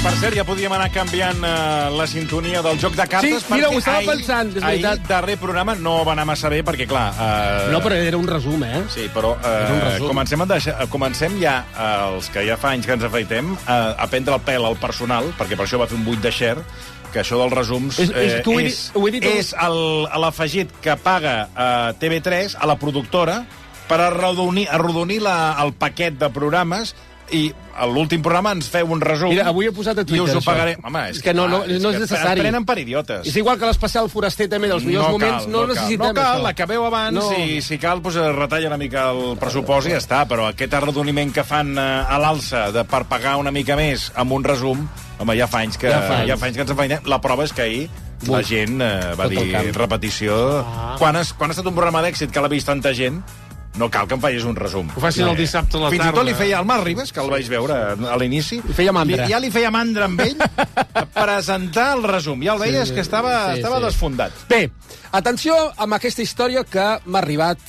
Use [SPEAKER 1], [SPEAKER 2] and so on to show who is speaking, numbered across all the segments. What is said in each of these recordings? [SPEAKER 1] per cert, ja podíem anar canviant eh, la sintonia del joc de cartes.
[SPEAKER 2] Sí, mira,
[SPEAKER 1] perquè
[SPEAKER 2] ho estava
[SPEAKER 1] ahir-
[SPEAKER 2] pensant, és veritat.
[SPEAKER 1] Ahir, darrer programa, no va anar massa bé, perquè, clar... Eh,
[SPEAKER 2] No, però era un resum, eh?
[SPEAKER 1] Sí, però
[SPEAKER 2] És un
[SPEAKER 1] eh,
[SPEAKER 2] resum.
[SPEAKER 1] comencem, a deixar, eh, comencem ja, eh, els que ja fa anys que ens afaitem, eh, a prendre el pèl al personal, perquè per això va fer un buit de xer, que això dels resums eh,
[SPEAKER 2] És- és- tu ho he dit-
[SPEAKER 1] és,
[SPEAKER 2] ho he dit-
[SPEAKER 1] és el- l'afegit que paga eh, TV3 a la productora per arrodonir, arrodonir la, el paquet de programes i a l'últim programa ens feu un resum.
[SPEAKER 2] Mira, avui he posat a Twitter,
[SPEAKER 1] I us ho
[SPEAKER 2] això.
[SPEAKER 1] pagaré. Home, és,
[SPEAKER 2] És que no, no,
[SPEAKER 1] clar,
[SPEAKER 2] no és
[SPEAKER 1] que
[SPEAKER 2] necessari.
[SPEAKER 1] ens Prenen per idiotes.
[SPEAKER 2] És igual que l'especial foraster també, dels millors moments, no,
[SPEAKER 1] No
[SPEAKER 2] necessitem
[SPEAKER 1] cal,
[SPEAKER 2] això.
[SPEAKER 1] l'acabeu abans no.
[SPEAKER 2] No.
[SPEAKER 1] i si cal pues, eh, retalla una mica el pressupost i ja està, però aquest arrodoniment que fan eh, a l'alça de, per pagar una mica més amb un resum, home, ja fa anys que, ja
[SPEAKER 2] Ja fa
[SPEAKER 1] fa
[SPEAKER 2] anys.
[SPEAKER 1] anys. que ens afeinem. La prova és que ahir la
[SPEAKER 2] Ui,
[SPEAKER 1] gent eh, va
[SPEAKER 2] tot el
[SPEAKER 1] dir
[SPEAKER 2] camp.
[SPEAKER 1] repetició. Ah. Quan, has, quan ha estat un programa d'èxit que l'ha vist tanta gent, no cal que em facis un resum.
[SPEAKER 3] Ho facin el dissabte a la
[SPEAKER 1] Fins i
[SPEAKER 3] tarda.
[SPEAKER 1] tot li feia al Marc Ribas, que el vaig veure a l'inici.
[SPEAKER 2] Li feia mandra.
[SPEAKER 1] Li, ja li feia mandra amb ell presentar el resum. Ja el veies
[SPEAKER 2] sí,
[SPEAKER 1] que estava,
[SPEAKER 2] sí,
[SPEAKER 1] estava
[SPEAKER 2] sí.
[SPEAKER 1] desfondat.
[SPEAKER 2] Bé, atenció amb aquesta història que m'ha arribat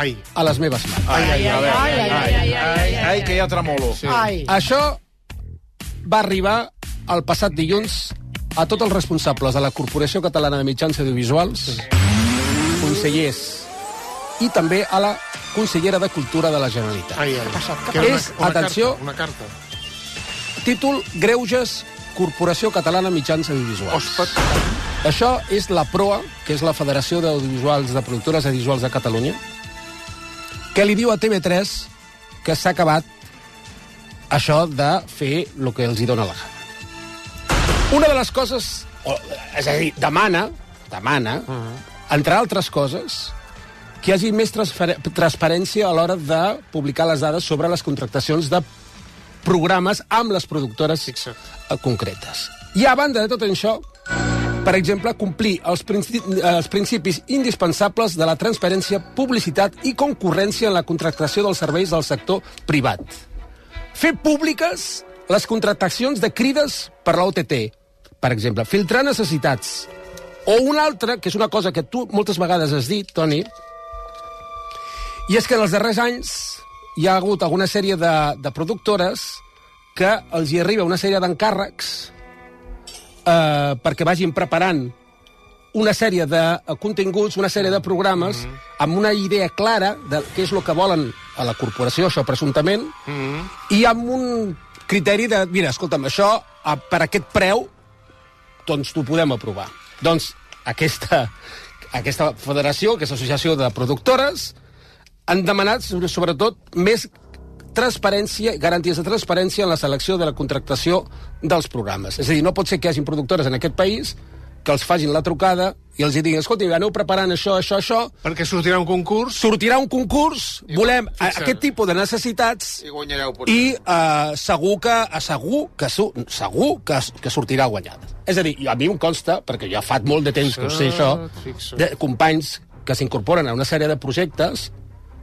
[SPEAKER 3] Ai,
[SPEAKER 2] a les meves mans.
[SPEAKER 1] Ai, ai, ai,
[SPEAKER 4] ai, ai, ai, ai, ai,
[SPEAKER 1] ai, que ja tremolo. Sí.
[SPEAKER 4] Ai.
[SPEAKER 2] Això va arribar el passat dilluns a tots els responsables de la Corporació Catalana de Mitjans Audiovisuals, consellers, i també a la consellera de Cultura de la Generalitat.
[SPEAKER 3] ai, ai.
[SPEAKER 2] Que
[SPEAKER 3] era
[SPEAKER 2] és, atenció-
[SPEAKER 3] Carta, una carta.
[SPEAKER 2] Títol Greuges Corporació Catalana de Mitjans Audiovisuals.
[SPEAKER 3] Hospet.
[SPEAKER 2] Això és la PROA, que és la Federació d'Audiovisuals de Productores Audiovisuals de Catalunya, que li diu a TV3 que s'ha acabat això de fer el que els hi dona la gana. Una de les coses, o, és a dir, demana, demana, uh -huh. entre altres coses, que hi hagi més transfer- transparència a l'hora de publicar les dades sobre les contractacions de programes amb les productores
[SPEAKER 3] Fixa't.
[SPEAKER 2] eh, concretes. I a banda de tot això, per exemple, complir els, princi els principis indispensables de la transparència, publicitat i concurrència en la contractació dels serveis del sector privat. Fer públiques les contractacions de crides per la OTT, per exemple, filtrar necessitats. O una altra, que és una cosa que tu moltes vegades has dit, Toni, i és que en els darrers anys hi ha hagut alguna sèrie de, de productores que els hi arriba una sèrie d'encàrrecs eh, perquè vagin preparant una sèrie de eh, continguts, una sèrie de programes, mm -hmm. amb una idea clara de què és el que volen a la corporació, això presumptament, mm -hmm. i amb un criteri de, mira, escolta'm, això a, per aquest preu, doncs t'ho podem aprovar. Doncs aquesta, aquesta federació, aquesta associació de productores, han demanat, sobre- sobretot, més transparència, garanties de transparència en la selecció de la contractació dels programes. És a dir, no pot ser que hi hagin productores en aquest país que els facin la trucada i els hi diguin, escolti, aneu preparant això, això, això,
[SPEAKER 3] Perquè sortirà un concurs
[SPEAKER 2] sortirà un concurs, volem a-
[SPEAKER 3] fixa't.
[SPEAKER 2] aquest tipus de necessitats
[SPEAKER 5] I guanyareu, potser.
[SPEAKER 2] i eh, segur que segur que, su- segur que, que sortirà guanyada. És a dir, a mi em consta, perquè ja fa molt de temps que ho sé això,
[SPEAKER 3] Fixa't.
[SPEAKER 2] de companys que s'incorporen a una sèrie de projectes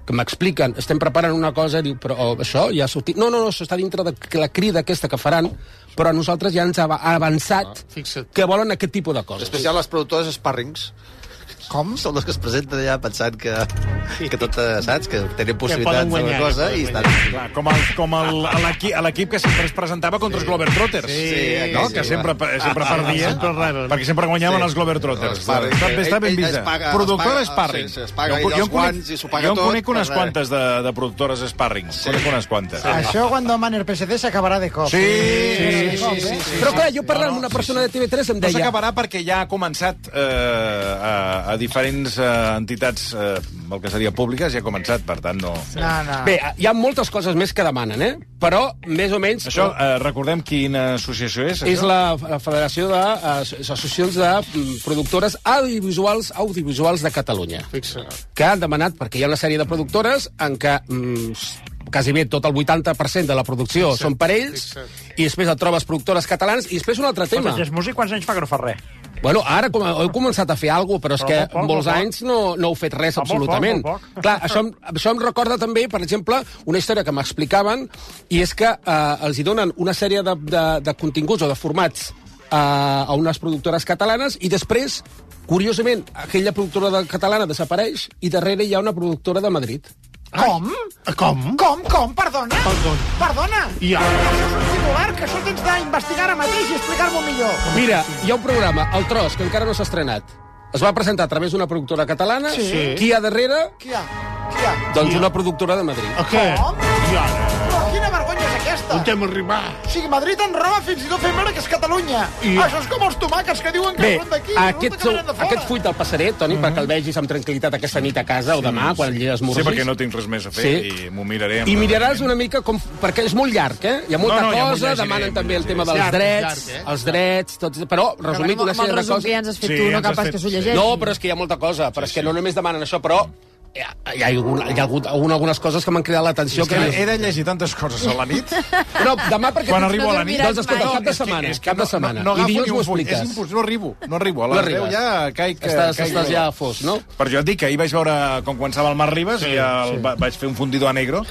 [SPEAKER 2] que m'expliquen, estem preparant una cosa, diu, però oh, això ja ha sortit... No, no, no, això està dintre de la crida aquesta que faran, però a nosaltres ja ens ha ha
[SPEAKER 1] Ah,
[SPEAKER 2] avançat
[SPEAKER 3] fixa't.
[SPEAKER 2] que volen aquest tipus de coses.
[SPEAKER 5] especial les productores Sparrings. Com? Són les que es presenten allà pensant que, que tot, eh, saps? Que tenen possibilitats
[SPEAKER 3] guanyar,
[SPEAKER 5] d'una cosa
[SPEAKER 3] que
[SPEAKER 5] i
[SPEAKER 3] poden
[SPEAKER 5] estan...
[SPEAKER 1] Clar, com el, com el, a l'equip- a l'equip que sempre es presentava contra els Globetrotters.
[SPEAKER 5] Sí,
[SPEAKER 1] no?
[SPEAKER 5] sí,
[SPEAKER 1] que
[SPEAKER 5] sí,
[SPEAKER 1] sempre,
[SPEAKER 5] va.
[SPEAKER 1] sempre
[SPEAKER 5] Ah,
[SPEAKER 1] perdia,
[SPEAKER 3] sempre reben.
[SPEAKER 1] perquè sempre guanyaven
[SPEAKER 5] Sí.
[SPEAKER 1] els Globetrotters.
[SPEAKER 5] Els Sparring.
[SPEAKER 1] Està- Està ben
[SPEAKER 5] Ell- ell es
[SPEAKER 1] vista.
[SPEAKER 5] paga-
[SPEAKER 1] Productora
[SPEAKER 5] es paga-
[SPEAKER 1] Sparring.
[SPEAKER 5] sí, sí, es paga
[SPEAKER 1] en-
[SPEAKER 5] ell els
[SPEAKER 1] en conec-
[SPEAKER 5] guants i s'ho paga
[SPEAKER 1] jo en
[SPEAKER 5] tot,
[SPEAKER 1] conec unes
[SPEAKER 5] per res.
[SPEAKER 1] quantes de, de productores Sparring. Sí. Conec unes quantes.
[SPEAKER 4] Això quan demani el PSC s'acabarà de cop.
[SPEAKER 1] Sí,
[SPEAKER 4] de
[SPEAKER 1] sí,
[SPEAKER 4] cop,
[SPEAKER 1] sí,
[SPEAKER 4] eh?
[SPEAKER 1] sí,
[SPEAKER 2] Però clar, jo parlant amb una persona de TV3 em
[SPEAKER 1] No
[SPEAKER 2] deia...
[SPEAKER 1] s'acabarà perquè ja ha començat eh, a, a diferents eh, entitats, eh, el que seria públiques, ja ha començat, per tant, no...
[SPEAKER 4] No, no.
[SPEAKER 2] Bé, hi ha moltes coses més que demanen, eh? Però, més o menys...
[SPEAKER 1] Això, eh, recordem quina associació és, això?
[SPEAKER 2] és la, la Federació d'Associacions de mm, Productores Audiovisuals Audiovisuals de Catalunya,
[SPEAKER 3] Fixa't.
[SPEAKER 2] que han demanat, perquè hi ha una sèrie de productores en què mm, s- quasi bé tot el 80% de la producció són per ells,
[SPEAKER 3] fixa't.
[SPEAKER 2] i després et trobes productores catalans, i després un altre tema.
[SPEAKER 6] Escolta, és músic, quants anys fa que no fa res?
[SPEAKER 2] Bueno, ara com, he començat a fer alguna cosa, però és
[SPEAKER 6] Però
[SPEAKER 2] que
[SPEAKER 6] molt poc,
[SPEAKER 2] molts
[SPEAKER 6] molt poc.
[SPEAKER 2] anys no, no heu fet res,
[SPEAKER 6] Ah, molt poc,
[SPEAKER 2] absolutament.
[SPEAKER 6] molt poc.
[SPEAKER 2] Clar, això, em- això em recorda també, per exemple, una història que m'explicaven, i és que eh, els hi donen una sèrie de, de, de continguts o de formats eh, a unes productores catalanes, i després, curiosament, aquella productora de catalana desapareix, i darrere hi ha una productora de Madrid.
[SPEAKER 4] Com?
[SPEAKER 3] Ah, Com?
[SPEAKER 4] Com? Com? Perdona?
[SPEAKER 3] Perdona.
[SPEAKER 4] Perdona?
[SPEAKER 3] I ara...
[SPEAKER 4] Això és un titular que això tens d'investigar ara mateix i explicar-m'ho millor.
[SPEAKER 2] Mira, hi ha un programa, El Tros, que encara no s'ha estrenat. Es va presentar a través d'una productora catalana.
[SPEAKER 3] Sí.
[SPEAKER 2] Qui hi ha darrere?
[SPEAKER 4] Qui hi ha? Qui hi ha?
[SPEAKER 2] Doncs una productora de Madrid.
[SPEAKER 3] A què?
[SPEAKER 4] Com?
[SPEAKER 3] Eh, I ara?
[SPEAKER 4] Però quina vergonya és aquesta?
[SPEAKER 3] On hem arribat?
[SPEAKER 4] O sigui, Madrid en roba fins i tot fent veure que és Catalunya.
[SPEAKER 3] I-
[SPEAKER 4] Això és com els tomàquets que diuen que
[SPEAKER 2] Bé,
[SPEAKER 4] són d'aquí,
[SPEAKER 2] aquest,
[SPEAKER 4] resulta que venen de fora.
[SPEAKER 2] aquest full del passaré, Toni, perquè el vegis amb tranquil·litat aquesta nit a casa o demà, quan sí.
[SPEAKER 1] Mhm.
[SPEAKER 2] esmorzis.
[SPEAKER 1] Sí, perquè no tinc res més a fer
[SPEAKER 2] Sí.
[SPEAKER 1] i m'ho miraré. amb
[SPEAKER 2] I miraràs
[SPEAKER 1] rendiment.
[SPEAKER 2] una mica com... Perquè és molt llarg, eh? Hi ha molta
[SPEAKER 1] No, no, ja m'ho
[SPEAKER 2] cosa,
[SPEAKER 1] llegiré,
[SPEAKER 2] demanen
[SPEAKER 1] m'ho
[SPEAKER 2] també el
[SPEAKER 1] llegiré.
[SPEAKER 2] tema dels
[SPEAKER 3] Llarg,
[SPEAKER 2] drets,
[SPEAKER 3] llarg, eh?
[SPEAKER 2] els drets, tots... Però, resumint una sèrie de
[SPEAKER 6] resum que ja
[SPEAKER 2] coses...
[SPEAKER 6] ens has fet
[SPEAKER 1] Sí,
[SPEAKER 6] tu, no
[SPEAKER 1] ens has
[SPEAKER 6] capaç
[SPEAKER 1] fet-
[SPEAKER 6] que s'ho
[SPEAKER 1] sí.
[SPEAKER 6] llegeixi.
[SPEAKER 2] No, però és que hi ha molta cosa, però és que no només demanen això, però hi ha, hi ha, algun, hi ha hagut alguna, algunes coses que m'han cridat l'atenció.
[SPEAKER 1] Que
[SPEAKER 2] Que...
[SPEAKER 1] he de llegir tantes coses a la nit.
[SPEAKER 2] No, demà perquè...
[SPEAKER 1] Quan
[SPEAKER 2] tens-
[SPEAKER 1] arribo a la nit...
[SPEAKER 6] dormiràs
[SPEAKER 2] Doncs escolta,
[SPEAKER 6] mai.
[SPEAKER 2] cap de setmana, cap de setmana.
[SPEAKER 1] No, no, no
[SPEAKER 2] I
[SPEAKER 1] agafo
[SPEAKER 2] dilluns
[SPEAKER 1] ni
[SPEAKER 2] m'ho
[SPEAKER 1] un full. És
[SPEAKER 2] expliques.
[SPEAKER 1] impossible, no arribo. No arribo. A
[SPEAKER 2] No
[SPEAKER 1] les
[SPEAKER 2] arribes.
[SPEAKER 1] 10 ja caic... eh,
[SPEAKER 2] Estàs,
[SPEAKER 1] caic
[SPEAKER 2] estàs ja fos, no?
[SPEAKER 1] Per jo et dic que ahir vaig veure com començava el Mar Ribas sí, i el, sí. vaig fer un fundido a negro,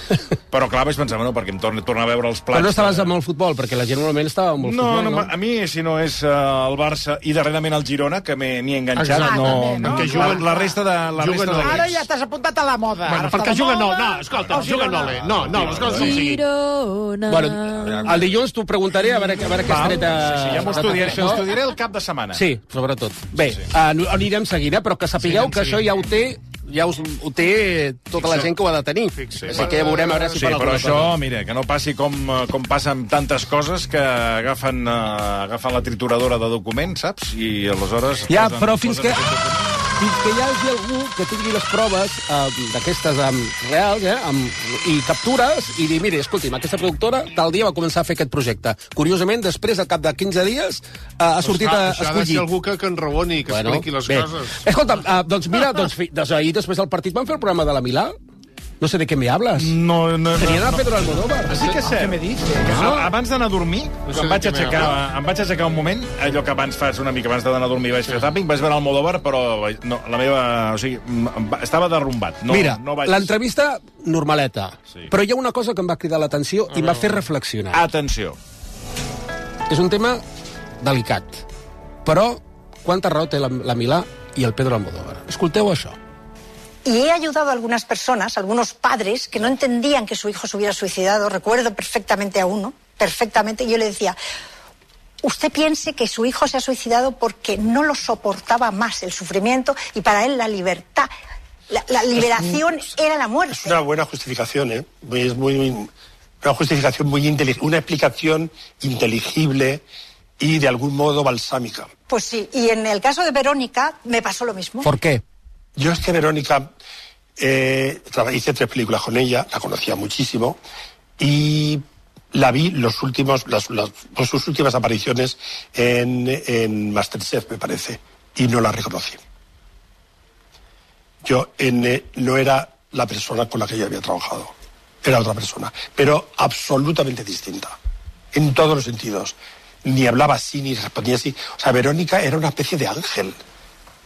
[SPEAKER 1] però clar, vaig pensar, bueno, perquè em torna, torna a veure els plats...
[SPEAKER 2] Però no estaves
[SPEAKER 1] de-
[SPEAKER 2] amb el futbol, perquè la gent normalment estava amb el
[SPEAKER 1] no,
[SPEAKER 2] futbol,
[SPEAKER 1] no, a mi, si no és eh, el Barça i darrerament el Girona, que m'he m'hi he enganxat,
[SPEAKER 3] Exacte.
[SPEAKER 1] no,
[SPEAKER 6] Ah, també,
[SPEAKER 1] no,
[SPEAKER 6] no?
[SPEAKER 1] que juguen, la resta de... La
[SPEAKER 3] Juguen
[SPEAKER 1] resta de
[SPEAKER 3] no.
[SPEAKER 4] Ara ja t'has apuntat a la moda.
[SPEAKER 7] Ah,
[SPEAKER 3] Bueno,
[SPEAKER 4] Ara
[SPEAKER 3] perquè
[SPEAKER 4] està de
[SPEAKER 3] juga no,
[SPEAKER 4] moda.
[SPEAKER 3] no, escolta,
[SPEAKER 4] Oh,
[SPEAKER 3] juga no, eh?
[SPEAKER 4] Girona.
[SPEAKER 3] no, no, les coses com siguin.
[SPEAKER 1] eh,
[SPEAKER 6] Girona.
[SPEAKER 2] Bueno, el dilluns t'ho preguntaré a veure, a veure què has tret a...
[SPEAKER 1] Sí, sí, ja m'ho
[SPEAKER 2] a tot
[SPEAKER 1] estudiaré,
[SPEAKER 2] això.
[SPEAKER 1] m'ho estudiaré el cap de setmana.
[SPEAKER 2] Sí, sobretot. Bé, sí. Uh, anirem seguint, eh? però que sapigueu
[SPEAKER 3] anem
[SPEAKER 2] que això
[SPEAKER 3] seguint.
[SPEAKER 2] ja ho té ja us, ho té tota la gent que ho ha de tenir.
[SPEAKER 3] Fixa.
[SPEAKER 2] Així que ja veurem a veure si
[SPEAKER 1] Sí,
[SPEAKER 2] fan
[SPEAKER 1] però
[SPEAKER 2] alguna
[SPEAKER 1] això,
[SPEAKER 2] cosa.
[SPEAKER 1] mira, que no passi com, eh, com passa amb tantes coses que agafen, eh, agafen la trituradora de documents, saps? I aleshores...
[SPEAKER 2] Ja,
[SPEAKER 1] posen
[SPEAKER 2] però fins
[SPEAKER 1] coses
[SPEAKER 2] que,
[SPEAKER 1] en aquest document.
[SPEAKER 2] fins que hi hagi algú que tingui les proves eh, d'aquestes um, reals eh, amb, i captures i dir, mire, escolti'm, aquesta productora tal dia va començar a fer aquest projecte. Curiosament, després, al cap de 15 dies, eh, ha sortit
[SPEAKER 3] Això ha
[SPEAKER 2] a,
[SPEAKER 3] de ser
[SPEAKER 2] escollit.
[SPEAKER 3] algú que, que enraoni, que expliqui les coses.
[SPEAKER 2] Escolta, uh, doncs mira, doncs, fi, des ahir, després del partit, vam fer el programa de la Milà. No sé de què me hables.
[SPEAKER 1] No, no, no.
[SPEAKER 2] Tenien a Pedro Almodóvar.
[SPEAKER 1] Sí
[SPEAKER 3] Ah,
[SPEAKER 1] que és cert. No? Abans d'anar a dormir,
[SPEAKER 3] sé
[SPEAKER 1] em vaig,
[SPEAKER 3] de què
[SPEAKER 1] aixecar,
[SPEAKER 3] m'agrada.
[SPEAKER 1] em vaig aixecar un moment, allò que abans fas una mica abans d'anar a dormir vaig fer tàping, vaig veure el Modóvar, però vaig- no, la meva... O sigui, em- em va- estava derrumbat. No,
[SPEAKER 2] Mira,
[SPEAKER 1] no vaig...
[SPEAKER 2] l'entrevista normaleta,
[SPEAKER 1] Sí.
[SPEAKER 2] però hi ha una cosa que em va cridar l'atenció i em va fer reflexionar.
[SPEAKER 1] Atenció.
[SPEAKER 2] És un tema delicat, però quanta raó té la, la Milà i el Pedro Almodóvar. Escolteu això.
[SPEAKER 8] Y he ayudado a algunas personas, a algunos padres que no entendían que su hijo se hubiera suicidado. Recuerdo perfectamente a uno, perfectamente. Y yo le decía, usted piense que su hijo se ha suicidado porque no lo soportaba más el sufrimiento y para él la libertad, la, la liberación era la muerte.
[SPEAKER 7] Es una buena justificación, ¿eh? Es muy, muy- una justificación muy inteligente, una explicación inteligible y de algún modo balsámica.
[SPEAKER 8] Pues sí, y en el caso de Verónica me pasó lo mismo.
[SPEAKER 2] Per què?
[SPEAKER 7] Yo es que Verónica eh, traba- hice tres películas con ella, la conocía muchísimo y la vi los últimos, las, las- por sus últimas apariciones en, en Masterchef, me parece, y no la reconocí. Yo en, eh, no era la persona con la que yo había trabajado, era otra persona, pero absolutamente distinta, en todos los sentidos. Ni hablaba así, ni respondía así. O sea, Verónica era una especie de ángel.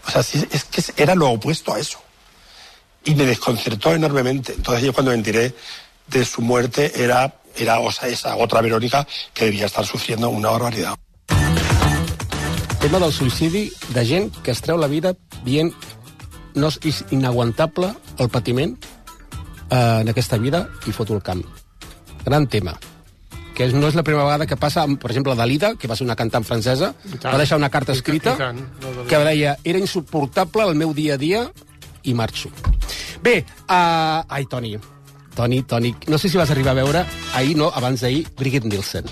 [SPEAKER 7] O sea, sí, es que era lo opuesto a eso. Y me desconcertó enormemente. Entonces yo cuando me enteré de su muerte era, era o sea, esa otra Verónica que debía estar sufriendo una barbaridad.
[SPEAKER 2] Tema del suïcidi de gent que es treu la vida dient no és- és inaguantable el patiment eh, en aquesta vida i foto el camp. Gran tema que és- no és la primera vegada que passa, amb, per exemple, Dalida, que va ser una cantant francesa,
[SPEAKER 3] tant.
[SPEAKER 2] va deixar una carta
[SPEAKER 3] I tant,
[SPEAKER 2] escrita
[SPEAKER 3] i tant. No, Dalida.
[SPEAKER 2] que deia era insuportable el meu dia a dia i marxo. Bé, uh, ai, Toni, Toni, Toni, no sé si vas arribar a veure ahir, no, abans d'ahir, Brigitte Nielsen,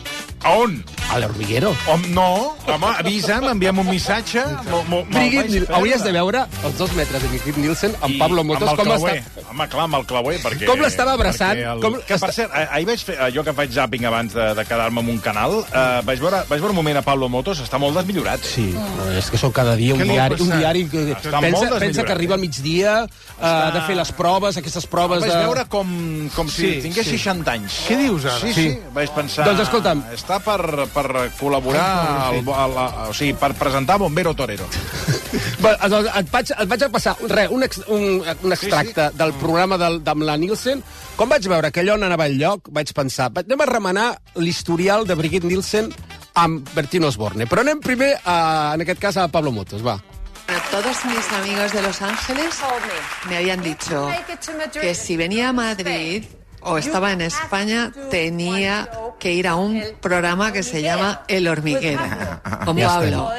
[SPEAKER 1] A on?
[SPEAKER 2] a l'Hormiguero.
[SPEAKER 1] Hom, no, home, avisa'm, envia'm un missatge. Mo- mo- me'l
[SPEAKER 2] Brigitte,
[SPEAKER 1] vaig
[SPEAKER 2] Nielsen,
[SPEAKER 1] perdre.
[SPEAKER 2] hauries de veure els dos metres de Brigitte Nielsen amb Pablo Motos,
[SPEAKER 1] amb el
[SPEAKER 2] com
[SPEAKER 1] clauer.
[SPEAKER 2] està...
[SPEAKER 1] Home, clar, amb el clauer, perquè...
[SPEAKER 2] Com l'estava abraçant,
[SPEAKER 1] perquè El...
[SPEAKER 2] com-
[SPEAKER 1] Que, per cert, ah- ahir vaig fer, allò que faig zàping abans de, de quedar-me en un canal, eh, vaig, veure, vaig veure un moment a Pablo Motos, està molt desmillorat. Eh?
[SPEAKER 2] Sí, però és que són cada dia un
[SPEAKER 3] Què li ha
[SPEAKER 2] diari, un
[SPEAKER 3] passat?
[SPEAKER 2] diari que
[SPEAKER 1] Està molt
[SPEAKER 2] pensa, pensa
[SPEAKER 1] desmillorat,
[SPEAKER 2] que arriba al migdia, eh, ha de fer les proves, aquestes
[SPEAKER 1] El
[SPEAKER 2] proves
[SPEAKER 1] vaig
[SPEAKER 2] de...
[SPEAKER 1] veure com, com si
[SPEAKER 3] Sí,
[SPEAKER 1] tingués
[SPEAKER 3] sí.
[SPEAKER 1] 60 anys.
[SPEAKER 3] Què dius ara?
[SPEAKER 1] Sí, sí,
[SPEAKER 2] Sí.
[SPEAKER 1] vaig pensar...
[SPEAKER 2] Doncs escolta'm.
[SPEAKER 1] Està per, per col·laborar, al, al, al, o sigui, per presentar Bombero Torero.
[SPEAKER 2] Bé, doncs et, vaig, et vaig a passar re, un, ex, un, un extracte sí, sí.
[SPEAKER 1] Mm.
[SPEAKER 2] del programa del, amb la Nielsen. Com vaig veure que allò no anava enlloc, vaig pensar, va- anem a remenar l'historial de Brigitte Nielsen amb Bertino Osborne. Però anem primer, a, en aquest cas, a Pablo Motos, va.
[SPEAKER 6] Todos mis amigos de Los Ángeles me habían dicho que si venía a Madrid o estaba en España tenía que ir a un programa que se llama El Hormiguero, como hablo,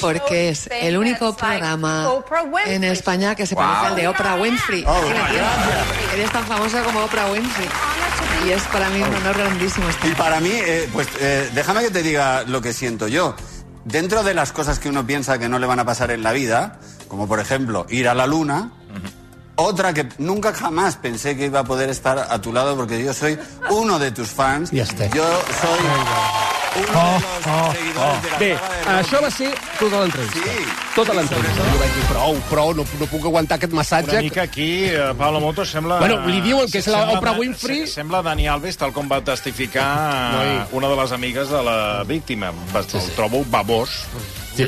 [SPEAKER 6] porque es el único programa en España que se parece al de Oprah Winfrey.
[SPEAKER 9] Oh,
[SPEAKER 6] Eres tan famosa como Oprah Winfrey. Y es para mí un honor grandísimo este estar
[SPEAKER 9] Y para mí, eh, pues eh, déjame que te diga lo que siento yo. Dentro de las cosas que uno piensa que no le van a pasar en la vida, como por ejemplo ir a la luna, otra que nunca jamás pensé que iba a poder estar a tu lado porque yo soy uno de tus fans.
[SPEAKER 2] Ya está.
[SPEAKER 9] Yo soy uno de los seguidores de la
[SPEAKER 2] Bé,
[SPEAKER 9] saga de
[SPEAKER 2] això va ser tota l'entrevista.
[SPEAKER 9] Sí.
[SPEAKER 2] Tota l'entrevista. Jo vaig dir, prou, prou, no, no puc aguantar aquest
[SPEAKER 1] Una
[SPEAKER 2] massatge.
[SPEAKER 1] mica aquí, eh, Paolo Motos sembla...
[SPEAKER 2] Bueno, li diuen que és la
[SPEAKER 1] sembla
[SPEAKER 2] Oprah
[SPEAKER 1] Dan-
[SPEAKER 2] Winfrey.
[SPEAKER 1] se- Sembla Dani Alves, tal com va testificar eh, una de les amigues de la víctima. Va- El trobo babós.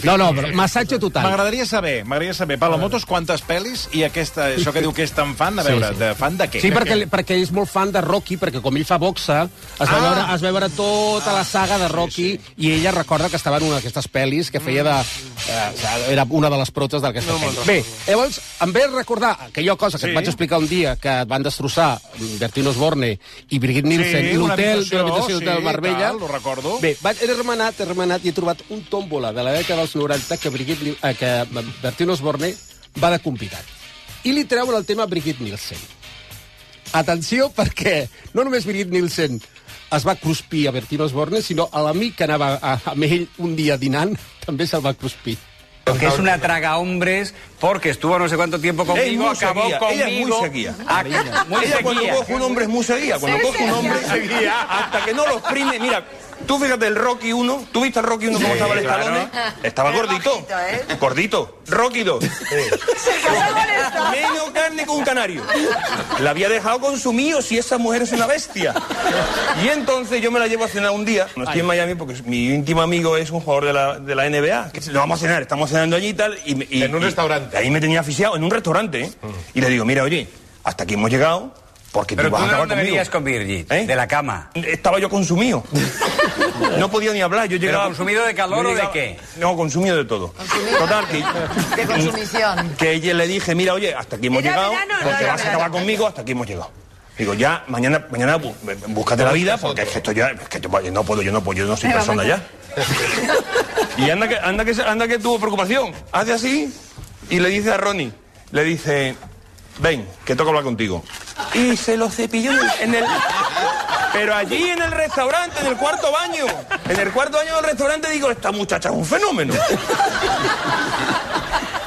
[SPEAKER 2] No, no, però massatge total.
[SPEAKER 1] M'agradaria saber, m'agradaria saber, Paolo Motos, quantes pel·lis i aquesta, això que diu que és tan fan, a
[SPEAKER 2] Sí,
[SPEAKER 1] veure,
[SPEAKER 2] sí.
[SPEAKER 1] de fan de què?
[SPEAKER 2] Sí, perquè, perquè és molt fan de Rocky, perquè com ell fa boxa, es va,
[SPEAKER 1] Ah.
[SPEAKER 2] veure, es va veure tota la saga de Rocky sí, sí. i ella recorda que estava en una d'aquestes pel·lis que feia de... Eh, era una de les protes d'aquesta no pel·li. Bé, llavors, em ve a recordar aquella cosa
[SPEAKER 1] Sí.
[SPEAKER 2] que sí. et vaig explicar un dia que et van destrossar Bertino Osborne i Birgit Nielsen
[SPEAKER 1] Sí,
[SPEAKER 2] i l'hotel
[SPEAKER 1] una
[SPEAKER 2] de l'habitació
[SPEAKER 1] habitació,
[SPEAKER 2] sí, del
[SPEAKER 1] sí,
[SPEAKER 2] Marbella.
[SPEAKER 1] tal, ho recordo.
[SPEAKER 2] Bé, vaig, he remenat, he remenat i he trobat un tòmbola de la dècada dels 90 que, Brigitte, Ni- eh, que Bertino Osborne va de convidat. I li treuen el tema Brigitte Nielsen. Atenció, perquè no només Birgit Nielsen es va cruspir a Bertino Osborne, sinó a l'amic que anava a, amb ell un dia dinant també se'l va cruspir.
[SPEAKER 10] Porque es una traga hombres, porque estuvo no sé cuánto tiempo
[SPEAKER 9] Ella
[SPEAKER 10] conmigo,
[SPEAKER 9] muy
[SPEAKER 10] acabó
[SPEAKER 9] seguía, ella es muy
[SPEAKER 10] conmigo.
[SPEAKER 9] seguía.
[SPEAKER 10] Ah, muy
[SPEAKER 9] Ella cuando
[SPEAKER 10] seguía.
[SPEAKER 9] coge un hombre es muy seguida. Cuando coge un hombre seguida. Hasta que no lo exprime. Mira, tú fíjate el Rocky 1. ¿Tú viste el Rocky 1 cómo estaba el estalón? Estaba gordito. Gordito. Rocky 2. Menos carne que un canario. La había dejado consumido si esa mujer es una bestia. Y entonces yo me la llevo a cenar un día. No estoy en Miami porque mi íntimo amigo es un jugador de la, de la NBA. Que dice, "No, vamos a cenar, estamos cenando allí y tal. Y, me- y-
[SPEAKER 3] En un
[SPEAKER 9] y-
[SPEAKER 3] restaurante.
[SPEAKER 9] ahí me tenía asfixiado, en un restaurante. ¿eh? Y le digo, mira, oye, hasta aquí hemos llegado porque
[SPEAKER 10] Pero
[SPEAKER 9] tú
[SPEAKER 10] tú
[SPEAKER 9] vas a
[SPEAKER 10] de
[SPEAKER 9] acabar
[SPEAKER 10] dónde
[SPEAKER 9] conmigo.
[SPEAKER 10] venías con Virgit,
[SPEAKER 9] ¿Eh?
[SPEAKER 10] de la cama.
[SPEAKER 9] Estaba yo consumido. No podía ni hablar. Yo llegaba.
[SPEAKER 10] consumido de calor
[SPEAKER 9] yo
[SPEAKER 10] o de qué?
[SPEAKER 9] No, consumido de todo. Total,
[SPEAKER 6] Ah,
[SPEAKER 9] que,
[SPEAKER 6] de consumición.
[SPEAKER 9] que ella le dije, mira, oye, hasta aquí hemos
[SPEAKER 6] ¿eh? Era
[SPEAKER 9] llegado,
[SPEAKER 6] verano, no
[SPEAKER 9] porque
[SPEAKER 6] era
[SPEAKER 9] vas a
[SPEAKER 6] verano.
[SPEAKER 9] acabar conmigo, hasta aquí hemos llegado. Digo, ya, mañana, mañana bú- búscate la vida, porque es que esto ya, es que yo, yo no puedo, yo no puedo, yo no soy persona ya. Y anda que, anda que, anda que tuvo preocupación. Hace así y le dice a Ronnie, le dice, ven, que toca hablar contigo. Y se lo cepilló en el, en el- Pero allí en el restaurante, en el cuarto baño. En el cuarto baño del restaurante digo, esta muchacha es un fenómeno.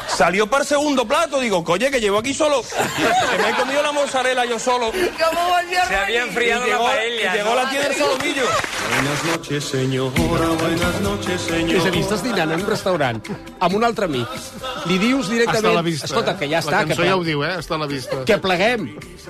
[SPEAKER 9] Salió para el segundo plato, digo, coye, que llevo aquí solo. Que me he comido la mozzarella yo solo.
[SPEAKER 6] ¿Cómo volvió
[SPEAKER 10] Se había
[SPEAKER 9] Y
[SPEAKER 10] enfriado la
[SPEAKER 9] llegó,
[SPEAKER 10] paella.
[SPEAKER 9] y llegó
[SPEAKER 10] ¿no?
[SPEAKER 9] la tía del solomillo.
[SPEAKER 2] És a dir, estàs dinant en un restaurant amb un altre amic, li dius
[SPEAKER 3] Hasta
[SPEAKER 2] directament...
[SPEAKER 3] la vista.
[SPEAKER 2] Escolta, que ja
[SPEAKER 3] La
[SPEAKER 2] està, que,
[SPEAKER 3] cançó ja ho diu, eh? Hasta la vista.
[SPEAKER 2] que pleguem.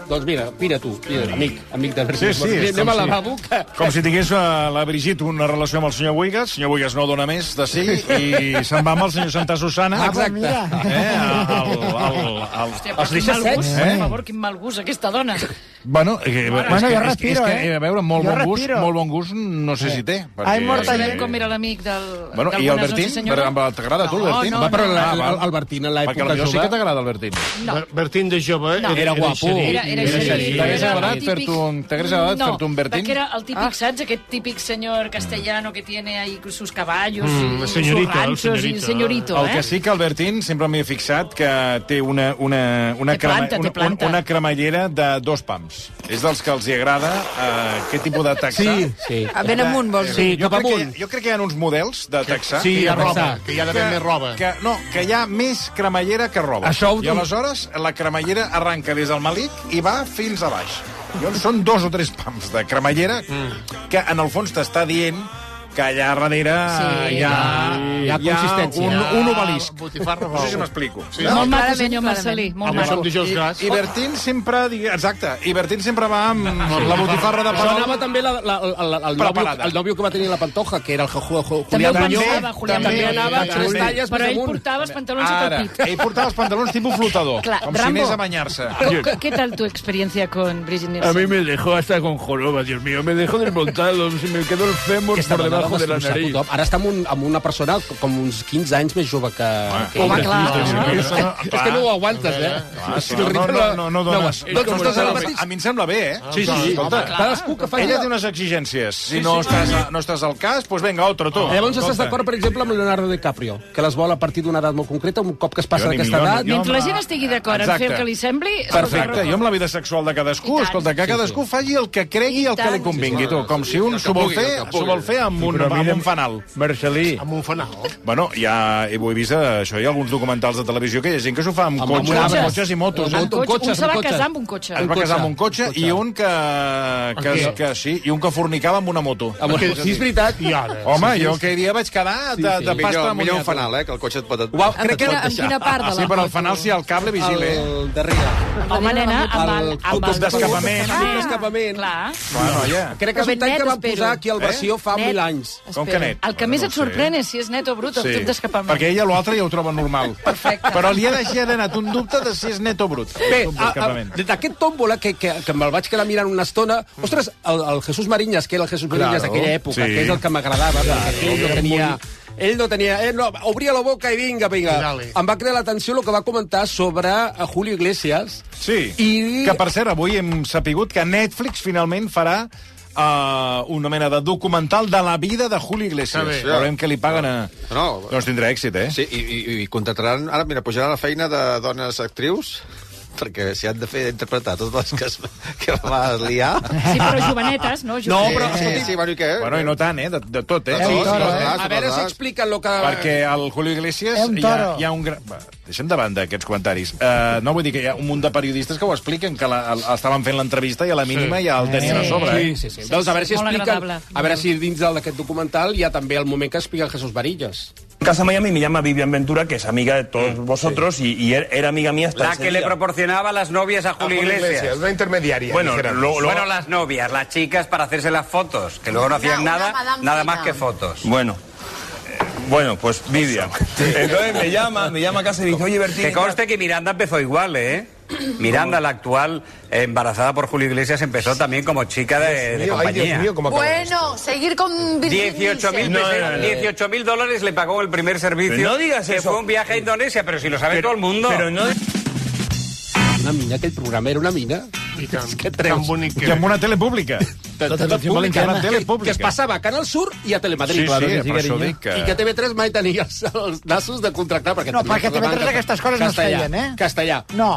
[SPEAKER 2] Doncs mira, mira tu, mira, amic, amic de Bertino
[SPEAKER 1] Sí, sí,
[SPEAKER 2] Osborne.
[SPEAKER 1] és
[SPEAKER 2] Anem
[SPEAKER 1] com
[SPEAKER 2] a
[SPEAKER 1] si-
[SPEAKER 2] lavabo, que...
[SPEAKER 1] Com si tingués eh, la Brigitte una relació amb el senyor Buigas, el senyor Buigas no dona més de sí, i se'n va amb el senyor Santa Susana.
[SPEAKER 2] Exacte.
[SPEAKER 1] Eh, al, al, al,
[SPEAKER 2] Els deixa secs.
[SPEAKER 1] Eh? Per favor, quin mal gust, aquesta dona. Bueno, eh, bueno és,
[SPEAKER 4] jo
[SPEAKER 1] que, és,
[SPEAKER 4] respiro,
[SPEAKER 1] és que,
[SPEAKER 4] eh?
[SPEAKER 1] a veure, molt
[SPEAKER 4] Jo
[SPEAKER 1] bon gust,
[SPEAKER 4] respiro.
[SPEAKER 1] molt bon gust, no sé si té. Perquè...
[SPEAKER 4] Ai, Marta, sabem com
[SPEAKER 1] mira l'amic del... Bueno,
[SPEAKER 6] del
[SPEAKER 1] I
[SPEAKER 6] Buenas
[SPEAKER 1] Albertín?
[SPEAKER 6] noches, señora.
[SPEAKER 1] Però T'agrada a tu,
[SPEAKER 6] No,
[SPEAKER 1] Albertín?
[SPEAKER 6] no,
[SPEAKER 2] Va, però la-
[SPEAKER 1] Ah, va.
[SPEAKER 2] l'Albertín en l'època
[SPEAKER 1] Perquè potser sí
[SPEAKER 2] jove-
[SPEAKER 1] que t'agrada, Albertín.
[SPEAKER 3] Ber- Bertín de jove eh?
[SPEAKER 6] No.
[SPEAKER 2] Era guapo.
[SPEAKER 3] xeric.
[SPEAKER 6] Era, era,
[SPEAKER 2] Era
[SPEAKER 6] així,
[SPEAKER 2] així. T'hagués
[SPEAKER 6] era
[SPEAKER 1] agradat
[SPEAKER 6] el típic-
[SPEAKER 1] fer-te un- t'hagués agradat
[SPEAKER 6] no,
[SPEAKER 1] fer-te un Bertín?
[SPEAKER 6] Perquè era el típic, saps, aquest típic senyor castellano que tiene ahí sus caballos
[SPEAKER 3] Mm,
[SPEAKER 6] y
[SPEAKER 3] senyorito,
[SPEAKER 6] sus ranchos
[SPEAKER 3] el
[SPEAKER 6] y
[SPEAKER 3] senyorito.
[SPEAKER 6] senyorito,
[SPEAKER 1] El
[SPEAKER 6] eh?
[SPEAKER 1] que sí que Albertín sempre m'hi he fixat que té una, una, una,
[SPEAKER 6] Té planta, té
[SPEAKER 1] una,
[SPEAKER 6] planta.
[SPEAKER 1] una cremallera de dos pams. És dels que els hi agrada eh, aquest tipus de taxar.
[SPEAKER 2] Sí, sí.
[SPEAKER 6] ben amunt, vols
[SPEAKER 2] Sí,
[SPEAKER 1] Jo
[SPEAKER 2] cap
[SPEAKER 1] crec,
[SPEAKER 2] amunt.
[SPEAKER 1] que, jo crec que hi ha uns models de taxar
[SPEAKER 2] Sí,
[SPEAKER 3] Que hi ha
[SPEAKER 2] a
[SPEAKER 3] roba,
[SPEAKER 2] pensar.
[SPEAKER 3] que hi ha d'haver més roba.
[SPEAKER 1] que, no, que hi ha més cremallera que roba.
[SPEAKER 2] Això ho-
[SPEAKER 1] I aleshores la cremallera arranca des del malic i va fins a baix. I on són dos o tres pams de cremallera mm. que en el fons t'està dient que allà darrere
[SPEAKER 6] Sí.
[SPEAKER 1] hi ha,
[SPEAKER 2] Hi ha consistència.
[SPEAKER 1] un, un obelisc.
[SPEAKER 3] Botifarra
[SPEAKER 1] No sé si
[SPEAKER 3] roba.
[SPEAKER 1] m'explico.
[SPEAKER 3] Sí.
[SPEAKER 6] Molt maco, senyor Marcelí. Molt
[SPEAKER 3] Home,
[SPEAKER 6] maco.
[SPEAKER 3] som dijous gras.
[SPEAKER 1] I Bertín sempre... digui- Exacte, i Bertín sempre va amb la botifarra de
[SPEAKER 2] Però
[SPEAKER 1] Palol.
[SPEAKER 2] anava també la, la, la, la, el, nòvio,
[SPEAKER 1] Preparada.
[SPEAKER 2] el nòvio que va tenir la Pantoja, que era el Ju- Ju- Ju-
[SPEAKER 6] També
[SPEAKER 2] Julián
[SPEAKER 6] ho
[SPEAKER 2] Muñoz.
[SPEAKER 6] pensava, Julián
[SPEAKER 2] també,
[SPEAKER 1] Muñoz.
[SPEAKER 2] anava
[SPEAKER 1] També.
[SPEAKER 2] tres talles
[SPEAKER 6] Però
[SPEAKER 2] més
[SPEAKER 6] ell
[SPEAKER 2] amunt.
[SPEAKER 6] portava els pantalons
[SPEAKER 1] Ara,
[SPEAKER 6] a tot
[SPEAKER 1] ell portava els pantalons tipus flotador,
[SPEAKER 6] Clar,
[SPEAKER 1] com si
[SPEAKER 6] Rambo.
[SPEAKER 1] anés a banyar-se.
[SPEAKER 6] pit. ¿Qué tal tu experiencia con Brigitte Nielsen?
[SPEAKER 11] A mí me dejó hasta con joroba, Dios mío. Me dejó desmontado, se me quedó el fémur por debajo
[SPEAKER 9] debajo de la
[SPEAKER 2] ho sap
[SPEAKER 9] nariz.
[SPEAKER 2] tothom. Ara està amb, un, amb una persona com uns 15 anys més jove que... que
[SPEAKER 1] Home,
[SPEAKER 2] ella.
[SPEAKER 1] clar.
[SPEAKER 2] És que, és que no ho aguantes, eh?
[SPEAKER 1] Clar, si
[SPEAKER 2] Si el
[SPEAKER 1] no, no,
[SPEAKER 2] ritme
[SPEAKER 1] no, no, no dones.
[SPEAKER 2] No, doncs no estàs al mateix.
[SPEAKER 1] a mi em sembla bé, eh?
[SPEAKER 2] Sí, sí, sí.
[SPEAKER 1] Escolta,
[SPEAKER 2] Cadascú que faci...
[SPEAKER 1] Ella té unes exigències. Si no, estàs, a- no estàs al cas, doncs vinga, otro, tu.
[SPEAKER 2] Ah, Llavors estàs
[SPEAKER 1] Escolta.
[SPEAKER 2] d'acord, per exemple, amb Leonardo DiCaprio, que les vol a partir d'una edat molt concreta, un cop que es passa
[SPEAKER 1] Jo ni
[SPEAKER 2] d'aquesta
[SPEAKER 1] milió,
[SPEAKER 2] edat...
[SPEAKER 1] ni- jo
[SPEAKER 11] Mentre
[SPEAKER 1] amb
[SPEAKER 11] la gent estigui d'acord en
[SPEAKER 1] Exacte.
[SPEAKER 11] fer el que li sembli, escolta,
[SPEAKER 1] Perfecte, jo amb la vida sexual de cadascú,
[SPEAKER 11] I tant.
[SPEAKER 1] escolta, que cadascú faci el que cregui i el que li convingui, tu. Com si un s'ho vol
[SPEAKER 3] pugui,
[SPEAKER 1] fer,
[SPEAKER 3] el que
[SPEAKER 1] s'ho
[SPEAKER 3] pugui.
[SPEAKER 1] vol fer amb un, amb un fanal.
[SPEAKER 9] Marcelí,
[SPEAKER 3] Amb un fanal.
[SPEAKER 1] Bueno, ja ho he vist, eh, això, hi ha alguns documentals de televisió que hi ha gent que s'ho fa amb,
[SPEAKER 2] Amb
[SPEAKER 1] cotxes,
[SPEAKER 2] cotxes.
[SPEAKER 1] amb cotxes i motos. eh?
[SPEAKER 2] Amb
[SPEAKER 11] amb cotxe,
[SPEAKER 2] cotxes,
[SPEAKER 11] un se va
[SPEAKER 2] amb cotxes.
[SPEAKER 11] casar amb un cotxe.
[SPEAKER 1] Es va casar amb un cotxe,
[SPEAKER 2] cotxe.
[SPEAKER 1] i un que, que,
[SPEAKER 3] Aquí.
[SPEAKER 1] que, sí, i un que fornicava amb una moto.
[SPEAKER 2] Amb...
[SPEAKER 3] Perquè-
[SPEAKER 2] Sí, és veritat.
[SPEAKER 3] I ara?
[SPEAKER 1] Home, jo aquell dia vaig quedar de, de pasta
[SPEAKER 5] Millor,
[SPEAKER 1] amb
[SPEAKER 5] millor un fanal, eh, que el cotxe et pot...
[SPEAKER 2] Uau,
[SPEAKER 5] et
[SPEAKER 2] crec que
[SPEAKER 5] pot
[SPEAKER 2] era-
[SPEAKER 5] deixar.
[SPEAKER 1] Ah, sí, però el fanal sí, el cable vigile. eh?
[SPEAKER 2] El darrere.
[SPEAKER 11] Home, nena, amb el... Amb
[SPEAKER 1] autobús d'escapament.
[SPEAKER 2] Autobús d'escapament.
[SPEAKER 11] Clar.
[SPEAKER 1] Bueno, ja.
[SPEAKER 2] Crec que és un tall que van posar aquí al versió fa
[SPEAKER 11] Net.
[SPEAKER 2] mil anys.
[SPEAKER 1] Com que
[SPEAKER 11] Espera.
[SPEAKER 1] net?
[SPEAKER 11] El que
[SPEAKER 1] Bueno,
[SPEAKER 11] més et
[SPEAKER 1] no ho sé.
[SPEAKER 11] sorprèn és si és net o brut el tub d'escapament.
[SPEAKER 1] perquè ella l'altre ja ho troba normal.
[SPEAKER 11] Perfecte.
[SPEAKER 1] Però li ha deixat anat un dubte de si és net o brut.
[SPEAKER 2] Bé,
[SPEAKER 1] El tub
[SPEAKER 2] a- a-
[SPEAKER 1] d'escapament.
[SPEAKER 2] d'aquest tòmbola que, que, que me'l vaig quedar mirant una estona...
[SPEAKER 1] Mm.
[SPEAKER 2] Ostres, el, el Jesús Mariñas, que era el Jesús Mariñas d'aquella època,
[SPEAKER 1] Sí.
[SPEAKER 2] que és el que m'agradava, perquè ell no tenia... Ell no tenia... Eh, no, obria la boca i vinga, vinga.
[SPEAKER 3] Dale.
[SPEAKER 2] Em va crear l'atenció el que va comentar sobre eh, Julio Iglesias.
[SPEAKER 1] Sí,
[SPEAKER 2] I-
[SPEAKER 1] que per cert, avui hem sapigut que Netflix finalment farà uh, una mena de documental de la vida de Julio Iglesias.
[SPEAKER 3] Està bé.
[SPEAKER 1] Veurem que li paguen a...
[SPEAKER 5] No.
[SPEAKER 1] Doncs tindrà èxit, eh?
[SPEAKER 5] Ah, Sí, i, i, i contrataran... Ara, mira, pujarà la feina de dones actrius perquè si han de fer interpretar totes les que, es, que va liar...
[SPEAKER 11] Sí, però jovenetes, no?
[SPEAKER 2] No, però,
[SPEAKER 5] Sí,
[SPEAKER 2] escolti,
[SPEAKER 5] sí, bueno, i què?
[SPEAKER 1] Bueno, i no tant, eh? De, de tot, eh?
[SPEAKER 5] De tot,
[SPEAKER 1] Sí,
[SPEAKER 5] de
[SPEAKER 1] sí,
[SPEAKER 5] tot.
[SPEAKER 1] eh?
[SPEAKER 5] Ah,
[SPEAKER 2] a veure si
[SPEAKER 5] verdad.
[SPEAKER 2] expliquen el que...
[SPEAKER 1] Perquè el Julio Iglesias...
[SPEAKER 4] És un toro.
[SPEAKER 1] Hi ha, hi ha un gran... Va, Deixem de banda aquests comentaris. Uh, no vull dir que hi ha un munt de periodistes que ho expliquen, que la, el, estaven fent l'entrevista i a la mínima ja el tenien a sobre.
[SPEAKER 2] Sí,
[SPEAKER 1] Eh?
[SPEAKER 2] sí, sí. Doncs a veure si
[SPEAKER 11] Molt
[SPEAKER 2] expliquen...
[SPEAKER 11] agradable.
[SPEAKER 2] A veure si dins del- d'aquest documental hi ha també el moment que explica el Jesús Varillas.
[SPEAKER 9] En Casa Miami me llama Vivian Ventura, que es amiga de todos
[SPEAKER 1] Mm,
[SPEAKER 9] vosotros y, y er- era amiga mía hasta
[SPEAKER 10] La
[SPEAKER 9] ese
[SPEAKER 10] que le
[SPEAKER 9] día.
[SPEAKER 10] proporcionaba las novias a Julio Iglesias.
[SPEAKER 3] Una intermediària.
[SPEAKER 9] Bueno,
[SPEAKER 3] dijéramos.
[SPEAKER 9] lo- lo-
[SPEAKER 10] Bueno, las novias, las chicas para hacerse las fotos, que luego no hacían
[SPEAKER 8] una
[SPEAKER 10] nada,
[SPEAKER 8] Madame
[SPEAKER 10] nada
[SPEAKER 8] Fina.
[SPEAKER 10] más que fotos.
[SPEAKER 9] Bueno, eh, bueno, pues Vivian. Entonces me llama, me llama a casa y dice, oye, Bertín...
[SPEAKER 10] Que conste que Miranda empezó igual, ¿eh? Miranda, la actual eh, embarazada por Julio Iglesias, empezó también como chica de, de
[SPEAKER 3] Ay, Dios
[SPEAKER 10] compañía.
[SPEAKER 3] mío, cómo acaba esto.
[SPEAKER 8] Bueno, seguir con
[SPEAKER 10] 18.000
[SPEAKER 9] No,
[SPEAKER 10] pesetas-
[SPEAKER 9] no, no, no.
[SPEAKER 10] 18.000 dólares le pagó el primer servicio.
[SPEAKER 9] No digas
[SPEAKER 10] que
[SPEAKER 9] eso.
[SPEAKER 10] fue un viaje a Indonesia, pero si lo sabe
[SPEAKER 9] Pero-
[SPEAKER 10] todo el mundo.
[SPEAKER 9] Pero no...
[SPEAKER 2] Una mina, aquell programa era una mina.
[SPEAKER 3] I tant.
[SPEAKER 2] És que treus.
[SPEAKER 3] Tan bonic
[SPEAKER 1] I
[SPEAKER 3] que...
[SPEAKER 1] amb una tele pública.
[SPEAKER 2] Tot, tot, tot pública,
[SPEAKER 1] valenciana. Tele
[SPEAKER 2] que,
[SPEAKER 1] pública.
[SPEAKER 2] que es passava a Canal Sur i a Telemadrid.
[SPEAKER 1] Sí, sí,
[SPEAKER 2] Claro que
[SPEAKER 1] per això ho
[SPEAKER 2] carinyo.
[SPEAKER 1] dic que-
[SPEAKER 2] I que TV3 mai tenia els, els nassos de contractar. Perquè
[SPEAKER 4] No,
[SPEAKER 2] tenia
[SPEAKER 4] perquè
[SPEAKER 2] el programa
[SPEAKER 4] TV3
[SPEAKER 2] en
[SPEAKER 4] aquestes coses no es
[SPEAKER 2] castellà.
[SPEAKER 4] feien, eh?
[SPEAKER 2] Castellà.
[SPEAKER 4] No,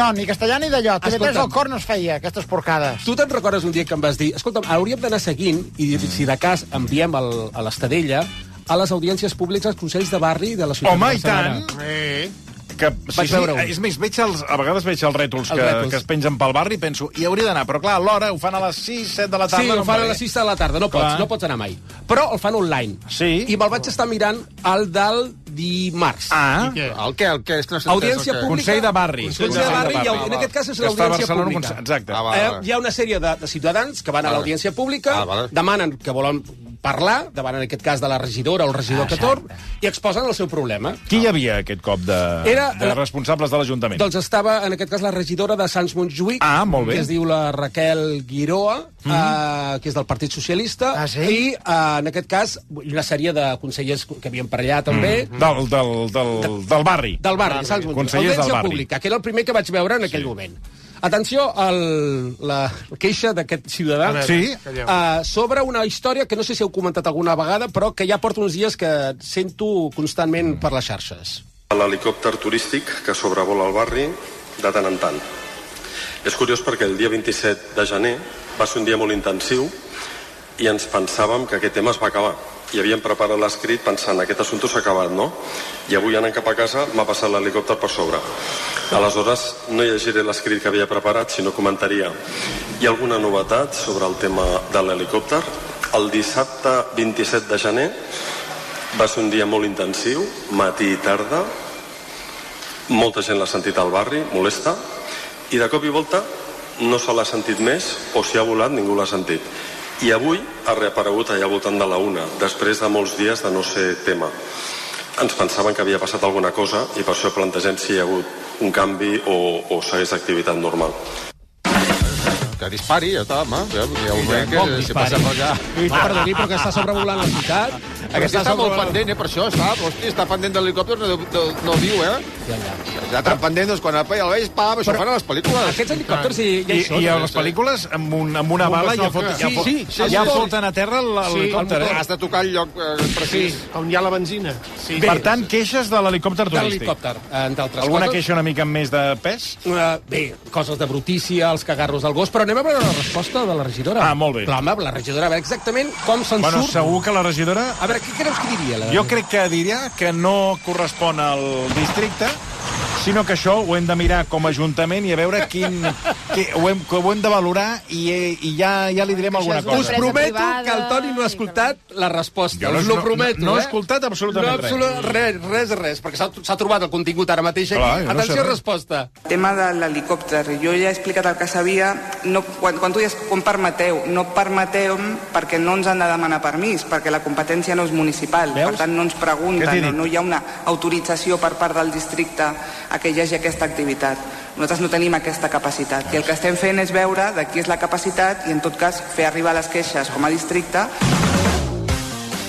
[SPEAKER 4] no, ni castellà ni d'allò. TV3
[SPEAKER 2] Escolta'm.
[SPEAKER 4] al cor no es feia, aquestes porcades.
[SPEAKER 2] Tu te'n recordes un dia que em vas dir escolta'm, hauríem d'anar seguint i si de cas enviem el, a l'Estadella a les audiències públiques, consells de barri de la ciutat
[SPEAKER 1] Home,
[SPEAKER 2] de
[SPEAKER 1] i tant!
[SPEAKER 2] Barcelona.
[SPEAKER 3] Eh,
[SPEAKER 1] Que, sí,
[SPEAKER 2] Vaig
[SPEAKER 1] sí,
[SPEAKER 2] veure un.
[SPEAKER 1] és més, veig els, a vegades veig els rètols,
[SPEAKER 2] Els
[SPEAKER 1] que,
[SPEAKER 2] rètols.
[SPEAKER 1] que es pengen pel barri i penso, hi hauria d'anar, però clar, a l'hora ho fan a les 6, 7 de la tarda.
[SPEAKER 2] Sí, el
[SPEAKER 1] em
[SPEAKER 2] fan a
[SPEAKER 1] va
[SPEAKER 2] les
[SPEAKER 1] bé.
[SPEAKER 2] 6 de la tarda, no pots,
[SPEAKER 1] Clar.
[SPEAKER 2] no pots anar mai. Però el fan online.
[SPEAKER 1] Sí.
[SPEAKER 2] I me'l vaig estar mirant al del dimarts.
[SPEAKER 1] Ah,
[SPEAKER 3] què?
[SPEAKER 5] El què, el què? És que no s'entès,
[SPEAKER 2] Audiència
[SPEAKER 5] el què?
[SPEAKER 2] pública.
[SPEAKER 1] Consell de barri.
[SPEAKER 2] Consell de barri, i en aquest cas és
[SPEAKER 1] Que està a
[SPEAKER 2] l'audiència
[SPEAKER 1] Barcelona,
[SPEAKER 2] pública.
[SPEAKER 1] Conse- Exacte.
[SPEAKER 5] Ah, va.
[SPEAKER 2] Eh, hi ha una sèrie de, de ciutadans que van a
[SPEAKER 5] Vale.
[SPEAKER 2] l'audiència pública,
[SPEAKER 5] Ah, vale.
[SPEAKER 2] demanen que volen parlar, demanen en aquest cas de la regidora o el
[SPEAKER 1] Ah,
[SPEAKER 2] regidor que torn, i exposen el seu problema.
[SPEAKER 1] Qui hi havia aquest cop de,
[SPEAKER 2] Era
[SPEAKER 1] de
[SPEAKER 2] la-
[SPEAKER 1] responsables de l'Ajuntament?
[SPEAKER 2] Doncs estava, en aquest cas, la regidora de Sants Montjuïc,
[SPEAKER 1] Ah, molt bé. Mhm.
[SPEAKER 2] que es diu la Raquel Guiroa, mm -hmm. eh, que és del Partit Socialista,
[SPEAKER 4] Ah, sí?
[SPEAKER 2] i eh, en aquest cas una sèrie de consellers que havien per allà també, mm
[SPEAKER 1] Del, del, del, del barri.
[SPEAKER 2] del barri, de Sants Montjuïc.
[SPEAKER 1] Consellers del
[SPEAKER 2] Audiència
[SPEAKER 1] barri.
[SPEAKER 2] pública, que era el primer que vaig veure en aquell moment. Atenció a la queixa d'aquest ciutadà.
[SPEAKER 3] A veure,
[SPEAKER 1] Sí?
[SPEAKER 3] calleu.
[SPEAKER 2] Uh, sobre una història que no sé si heu comentat alguna vegada, però que ja porta uns dies que sento constantment
[SPEAKER 1] Mm.
[SPEAKER 2] per les xarxes.
[SPEAKER 12] a l'helicòpter turístic que sobrevola el barri de tant en tant. És curiós perquè el dia 27 de gener va ser un dia molt intensiu i ens pensàvem que aquest tema es va acabar. I havíem preparat l'escrit pensant aquest assumpte s'ha acabat, no? I avui anant cap a casa m'ha passat l'helicòpter per sobre. Aleshores no llegiré l'escrit que havia preparat, sinó comentaria. Hi ha alguna novetat sobre el tema de l'helicòpter? El dissabte 27 de gener va ser un dia molt intensiu, matí i tarda. Molta gent l'ha sentit al barri, molesta. I de cop i volta no se l'ha sentit més o si ha volat ningú l'ha sentit. I avui ha reaparegut allà voltant de la una, després de molts dies de no ser tema. Ens pensaven que havia passat alguna cosa i per això plantegem si hi ha hagut un canvi o, o segueix activitat normal.
[SPEAKER 5] que dispari, ja està, home. Ja, ja ho veig que si passa per allà...
[SPEAKER 2] Ah, perdoni, però que està sobrevolant la ciutat.
[SPEAKER 5] Aquest està molt pendent, eh, per això, sap? Hosti, està pendent de l'helicòpter, no, no, no viu, eh? Ja, ja. Està tan pendent, doncs, quan el ja el veig, pam, això fan a les pel·lícules.
[SPEAKER 2] Aquests helicòpters hi,
[SPEAKER 1] Ah. I, i a les pel·lícules, amb, un, amb una
[SPEAKER 5] Amb un
[SPEAKER 1] bala, ja,
[SPEAKER 5] bazooka.
[SPEAKER 1] fot, ja, fot,
[SPEAKER 5] Sí, sí,
[SPEAKER 1] ja
[SPEAKER 5] sí, sí.
[SPEAKER 1] foten a terra l'helicòpter.
[SPEAKER 3] el motor.
[SPEAKER 1] eh?
[SPEAKER 3] Has
[SPEAKER 5] de tocar el lloc eh, precís.
[SPEAKER 3] Sí, on hi ha la benzina. Sí.
[SPEAKER 1] Per tant, queixes de l'helicòpter
[SPEAKER 2] De
[SPEAKER 1] turístic.
[SPEAKER 2] l'helicòpter, entre altres
[SPEAKER 1] Alguna
[SPEAKER 2] coses.
[SPEAKER 1] queixa una mica amb més de pes?
[SPEAKER 2] Uh, bé, coses de brutícia, els cagarros del gos, però anem a veure la resposta de la regidora.
[SPEAKER 1] Ah, molt bé.
[SPEAKER 2] Clar, home, la regidora, a veure exactament com se'n
[SPEAKER 1] Bueno,
[SPEAKER 2] surt.
[SPEAKER 1] segur que la regidora...
[SPEAKER 2] A veure, què creus que diria? La...
[SPEAKER 1] Jo crec que diria que no correspon al districte, sinó que això ho hem de mirar com a Ajuntament i a veure quin... Que ho, hem, que ho hem de valorar i, eh, i ja, ja li direm alguna cosa.
[SPEAKER 2] Us Doncs prometo que el Toni no ha escoltat la resposta.
[SPEAKER 1] Jo no-
[SPEAKER 2] Us ho
[SPEAKER 1] no-
[SPEAKER 2] prometo,
[SPEAKER 1] no he
[SPEAKER 2] eh?
[SPEAKER 1] escoltat absolutament
[SPEAKER 2] no, absolut, res. Res, res, perquè s'ha s'ha trobat el contingut ara mateix aquí.
[SPEAKER 13] Clar, jo no sé
[SPEAKER 2] Atenció,
[SPEAKER 13] res.
[SPEAKER 2] resposta.
[SPEAKER 13] Tema de l'helicòpter. Jo ja he explicat el que sabia. No, quan, quan tu dius com permeteu, no permeteu perquè no ens han de demanar permís, perquè la competència no és municipal. Per tant, no ens
[SPEAKER 14] Què t'he
[SPEAKER 13] pregunten, no,
[SPEAKER 14] dit?
[SPEAKER 13] no hi ha una autorització per part del districte a que hi hagi aquesta activitat. Nosaltres no tenim aquesta capacitat. I el que estem fent és veure de qui és la capacitat i, en tot cas, fer arribar les queixes com a districte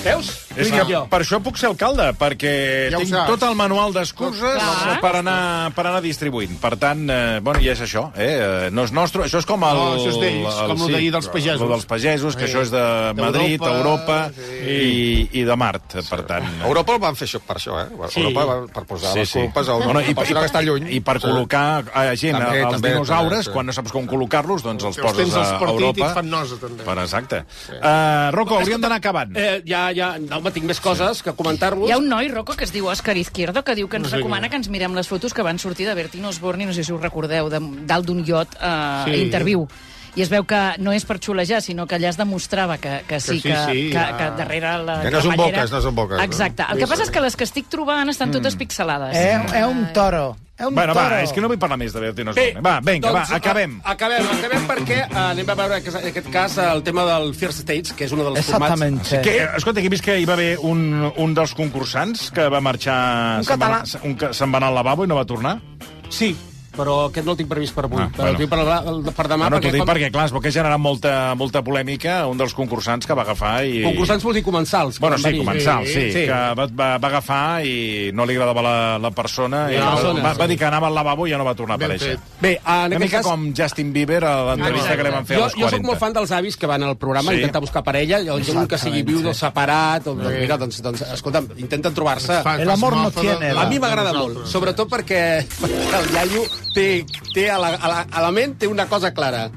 [SPEAKER 2] Veus?
[SPEAKER 1] És
[SPEAKER 13] Vinga,
[SPEAKER 1] que per això puc ser alcalde, perquè
[SPEAKER 13] Ja
[SPEAKER 1] ja
[SPEAKER 13] ho
[SPEAKER 1] tinc
[SPEAKER 13] saps.
[SPEAKER 1] tot el manual d'excuses
[SPEAKER 13] Clar.
[SPEAKER 1] per, anar, per anar distribuint. Per tant, eh, bueno, i és això, eh? eh, No és nostre, això és com el...
[SPEAKER 3] No, això és d'ells, com lo d'ahir dels pagesos.
[SPEAKER 1] El dels pagesos, que
[SPEAKER 3] Sí.
[SPEAKER 1] això és de Madrid,
[SPEAKER 5] D'Europa,
[SPEAKER 1] Europa i, i de Mart, per tant.
[SPEAKER 5] Europa el van fer això per això, eh? Europa va, per posar sí, les culpes a una
[SPEAKER 1] Bueno, i-
[SPEAKER 5] persona
[SPEAKER 1] i-
[SPEAKER 5] que està lluny.
[SPEAKER 1] I per col·locar a gent,
[SPEAKER 5] També,
[SPEAKER 1] als
[SPEAKER 5] també,
[SPEAKER 1] dinosaures,
[SPEAKER 5] també, sí.
[SPEAKER 1] quan no saps com col·locar-los, doncs els
[SPEAKER 3] Que els
[SPEAKER 1] poses
[SPEAKER 3] tens
[SPEAKER 1] a
[SPEAKER 3] als partits i
[SPEAKER 1] Europa.
[SPEAKER 3] et fan nosa, també.
[SPEAKER 1] Per exacte. Eh, Rocco, hauríem d'anar acabant.
[SPEAKER 2] Eh, ja, ja, no, home, tinc més coses que comentar-vos.
[SPEAKER 11] Hi ha un noi, Rocco, que es diu Òscar Izquierdo, que diu que ens
[SPEAKER 2] No sé
[SPEAKER 11] recomana que ens mirem les fotos que van sortir de Bertino Osborne, i no sé si us recordeu, de- dalt d'un iot a
[SPEAKER 15] Sí.
[SPEAKER 11] sí. Interviu. I es veu que no és per xulejar, sinó que allà es demostrava que, que sí,
[SPEAKER 5] Que sí,
[SPEAKER 11] que,
[SPEAKER 5] sí,
[SPEAKER 11] que,
[SPEAKER 5] ja.
[SPEAKER 11] que darrere la
[SPEAKER 5] Que no són
[SPEAKER 11] cremallera-
[SPEAKER 5] boques, no són boques, no?
[SPEAKER 11] Exacte. El que
[SPEAKER 5] Sí,
[SPEAKER 11] passa
[SPEAKER 5] sí.
[SPEAKER 11] és que les que estic trobant estan totes pixelades.
[SPEAKER 15] Eh, eh, un toro. Eh, un
[SPEAKER 1] Bueno,
[SPEAKER 15] toro.
[SPEAKER 1] va, és que no vull parlar més de Bertino Osborne. Va, vinga, va,
[SPEAKER 2] doncs, a-
[SPEAKER 1] acabem.
[SPEAKER 2] acabem, acabem perquè eh, anem a veure en aquest cas el tema del First States, que és un dels
[SPEAKER 1] Exactament.
[SPEAKER 2] formats...
[SPEAKER 1] Que, escolta, que he vist que hi va haver un, un dels concursants que va marxar...
[SPEAKER 2] Un
[SPEAKER 1] se'n va
[SPEAKER 2] català.
[SPEAKER 1] anar- se- Un, que se'n va anar al lavabo i no va tornar.
[SPEAKER 2] Sí, però aquest no el tinc previst per avui. Ah,
[SPEAKER 1] bueno.
[SPEAKER 2] bueno. El tinc per, la- per demà,
[SPEAKER 1] Ah, no, no, t'ho
[SPEAKER 2] perquè...
[SPEAKER 1] dic perquè, clar, es veu que ha generat molta, molta polèmica un dels concursants que va agafar i...
[SPEAKER 2] Concursants vol dir comensals. que
[SPEAKER 1] Bueno,
[SPEAKER 2] van
[SPEAKER 1] sí,
[SPEAKER 2] venir.
[SPEAKER 1] comensal, sí, sí, que va, va, va agafar i no li agradava la, la persona. I
[SPEAKER 2] La
[SPEAKER 1] va,
[SPEAKER 2] persona,
[SPEAKER 1] va, va
[SPEAKER 2] sí.
[SPEAKER 1] dir que anava al lavabo i ja no va tornar a
[SPEAKER 2] Ben
[SPEAKER 1] aparèixer.
[SPEAKER 2] fet. Bé, en
[SPEAKER 1] Una
[SPEAKER 2] aquest
[SPEAKER 1] mica
[SPEAKER 2] cas-
[SPEAKER 1] com Justin Bieber a l'entrevista que li van fer
[SPEAKER 2] jo,
[SPEAKER 1] a les
[SPEAKER 2] jo soc
[SPEAKER 1] 40.
[SPEAKER 2] molt fan dels avis que van al programa
[SPEAKER 1] Sí.
[SPEAKER 2] sí. a intentar buscar parella, o un que sigui
[SPEAKER 1] Exactament,
[SPEAKER 2] viu
[SPEAKER 1] sí.
[SPEAKER 2] o separat, o, doncs, mira, doncs, doncs, escolta'm, intenten trobar-se.
[SPEAKER 1] Fa- El amor no tiene
[SPEAKER 2] A
[SPEAKER 1] edad.
[SPEAKER 2] mi m'agrada
[SPEAKER 1] Com
[SPEAKER 2] molt,
[SPEAKER 1] nosaltres.
[SPEAKER 2] sobretot perquè, perquè el iaio té, té a, la, a, la, a la ment té una cosa clara.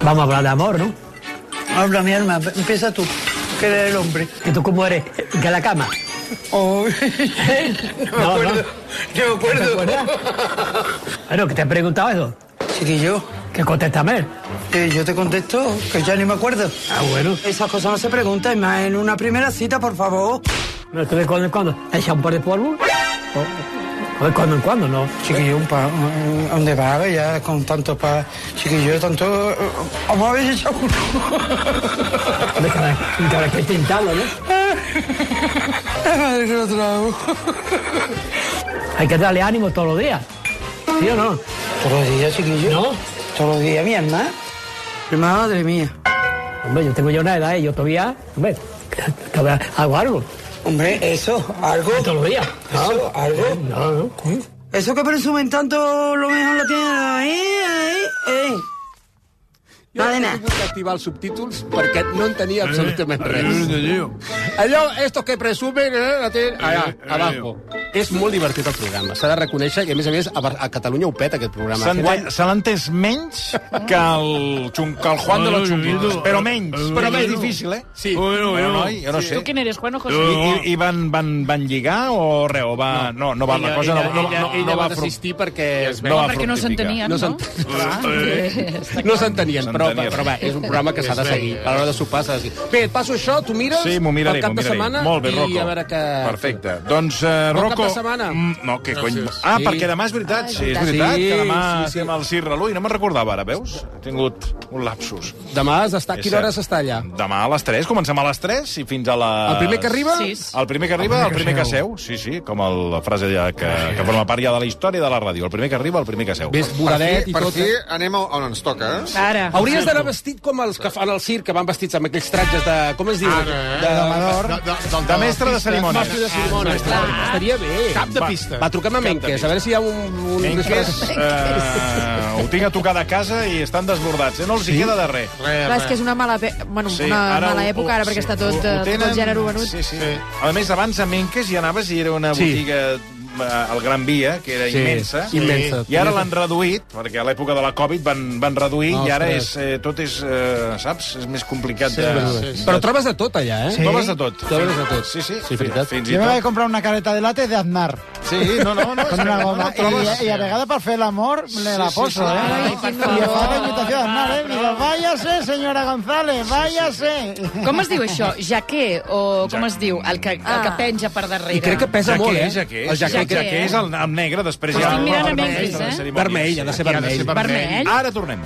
[SPEAKER 15] Vamos a hablar de amor, ¿no? Habla, mi alma. Empieza tú, que eres el hombre. ¿Y tú cómo eres? ¿Que la cama? no, no me acuerdo. No me acuerdo. Bueno, que te he preguntado eso. Chiquillo. Que contéstame. Que yo te contesto, que ya ni me acuerdo. Ah, bueno. Esas cosas no se preguntan, más en una primera cita, por favor. ¿Me estuve cuando en cuando? ¿Echa un par de polvo? O- o de cuando en cuando, no. Chiquillo, un pa, un- ¿dónde va? Ya con tanto pa... Chiquillo, tanto... eh, Vamos a ver si uno. De cara, de cara que intentarlo, ¿no? Madre que lo trago. Hay que darle ánimo todos los días. ¿Sí o no? Todos los días, chiquillo. ¿No? Todos los días, mi hermana. Madre mía. Hombre, yo tengo ya una edad y yo todavía, hombre, todavía hago algo. Hombre, eso, algo. Todos los días. Eso, algo. No, no. Eso que presumen tanto, lo mejor lo tienen ahí, ahí, Eh. ahí.
[SPEAKER 2] Jo he hagut d'activar els subtítols perquè no entenia absolutament res. Allò, esto que presumen, eh, la tenen allà, abajo. És molt divertit el programa, s'ha de reconèixer, i a més a més a, Bar- a Catalunya ho peta aquest programa.
[SPEAKER 1] S'ha
[SPEAKER 2] Aquest any-
[SPEAKER 1] entès- Se l'ha entès menys que el, xun, que el Juan de los Chunguitos. Però menys. Però menys difícil, eh?
[SPEAKER 2] Sí.
[SPEAKER 1] Bueno, noi, jo no sé.
[SPEAKER 11] Tu quin eres, Juan o José?
[SPEAKER 1] I, i, i van, van, van lligar o res? O va... No, no, va, la cosa no, no, no, no va fructificar.
[SPEAKER 2] desistir perquè...
[SPEAKER 1] No va
[SPEAKER 11] perquè no s'entenien, no?
[SPEAKER 2] No
[SPEAKER 11] Clar.
[SPEAKER 2] No s'entenien, però,
[SPEAKER 1] S'entenien.
[SPEAKER 2] però va, és un programa que s'ha de seguir. A l'hora de sopar s'ha de seguir. Bé, et passo això, tu mires...
[SPEAKER 1] Sí, m'ho miraré,
[SPEAKER 2] pel cap de setmana
[SPEAKER 1] Molt bé,
[SPEAKER 2] i
[SPEAKER 1] Rocco.
[SPEAKER 2] a veure què...
[SPEAKER 1] Perfecte. Doncs, uh,
[SPEAKER 2] Bon cap
[SPEAKER 1] Rocco...
[SPEAKER 2] de setmana.
[SPEAKER 1] Mm, No, que cony...
[SPEAKER 2] Gràcies.
[SPEAKER 1] Ah,
[SPEAKER 2] Sí.
[SPEAKER 1] perquè demà és veritat.
[SPEAKER 2] Ah,
[SPEAKER 1] sí, és
[SPEAKER 2] sí,
[SPEAKER 1] veritat, que demà
[SPEAKER 2] sí, sí.
[SPEAKER 1] estem al Cirre Lui. No me'n recordava ara, veus? He tingut un lapsus.
[SPEAKER 2] Demà has d'estar...
[SPEAKER 1] És
[SPEAKER 2] A quina hora
[SPEAKER 1] cert.
[SPEAKER 2] s'està allà?
[SPEAKER 1] Demà a les 3, comencem a les 3 i fins a la...
[SPEAKER 2] El primer que arriba? Sis.
[SPEAKER 1] El primer que arriba, el primer que seu. Sí, sí, com el, la frase ja que, que forma part ja de la història de la ràdio. El primer que arriba, el primer que seu.
[SPEAKER 2] Ves bodadet i
[SPEAKER 5] per
[SPEAKER 2] tot,
[SPEAKER 5] fi
[SPEAKER 2] eh?
[SPEAKER 5] anem a- on ens toca, eh?
[SPEAKER 2] Hauries d'anar vestit com els que fan al circ, que van vestits amb aquells trajes de... Com es diu?
[SPEAKER 1] Ah, eh?
[SPEAKER 2] de
[SPEAKER 1] d'amador. De mestre de cerimònies.
[SPEAKER 2] Mestre de cerimònies.
[SPEAKER 1] Ah,
[SPEAKER 2] Clar, estaria bé.
[SPEAKER 1] Cap de pista.
[SPEAKER 2] Va, va truquem a Menkes, a veure si hi ha un... un
[SPEAKER 1] Menques, eh, ho tinc a tocar de casa i estan desbordats, eh? No els sí? hi queda de res.
[SPEAKER 14] Clar, és que és una mala, pe... bueno,
[SPEAKER 1] Sí,
[SPEAKER 14] una
[SPEAKER 1] ara
[SPEAKER 14] mala
[SPEAKER 1] ho-
[SPEAKER 14] època, ara,
[SPEAKER 1] ho-
[SPEAKER 14] perquè
[SPEAKER 1] sí,
[SPEAKER 14] està tot,
[SPEAKER 1] ho- ho
[SPEAKER 14] eh, tot
[SPEAKER 1] tenen-
[SPEAKER 14] el gènere venut.
[SPEAKER 1] Sí, sí. A més, abans a Menques hi anaves i era una
[SPEAKER 2] Sí.
[SPEAKER 1] botiga eh, al Gran Via, que era
[SPEAKER 2] Sí,
[SPEAKER 1] immensa.
[SPEAKER 2] sí. immensa.
[SPEAKER 1] I ara l'han reduït, perquè a l'època de la Covid van, van reduir i ara és,
[SPEAKER 2] Ostres.
[SPEAKER 1] eh, tot és, eh, saps, és més complicat.
[SPEAKER 2] Sí,
[SPEAKER 1] de...
[SPEAKER 2] sí, sí. Però trobes de tot allà, eh?
[SPEAKER 1] Sí. Trobes de tot.
[SPEAKER 2] Trobes de tot.
[SPEAKER 1] Sí, sí.
[SPEAKER 2] Sí, veritat.
[SPEAKER 1] Fins i
[SPEAKER 14] Jo
[SPEAKER 1] tot.
[SPEAKER 14] me vaig comprar una careta de late de Aznar.
[SPEAKER 1] Sí, no, no, no.
[SPEAKER 14] Con una
[SPEAKER 1] no,
[SPEAKER 14] goma.
[SPEAKER 1] no trobes-
[SPEAKER 14] I, I a vegada per fer l'amor me la
[SPEAKER 1] sí,
[SPEAKER 14] poso, eh?
[SPEAKER 1] sí. Ai,
[SPEAKER 14] I fa la invitació d'Aznar, eh? Digo, váyase, senyora González, váyase.
[SPEAKER 11] Com es diu això? Jaqué? O com es diu? El que, el que penja per darrere.
[SPEAKER 2] Ah. I crec que pesa
[SPEAKER 1] Jaqué,
[SPEAKER 2] molt, eh?
[SPEAKER 1] Jaqué,
[SPEAKER 2] El jaqué,
[SPEAKER 1] jaqué, jaqué és el, el negre, després
[SPEAKER 11] Estic
[SPEAKER 1] el
[SPEAKER 11] mirant a
[SPEAKER 1] vermell
[SPEAKER 11] Menges,
[SPEAKER 1] de la
[SPEAKER 11] eh?
[SPEAKER 1] cerimònia.
[SPEAKER 2] Vermell, ha de ser
[SPEAKER 1] Aquí
[SPEAKER 2] vermell.
[SPEAKER 1] vermell.
[SPEAKER 11] Vermell?
[SPEAKER 1] Ara tornem.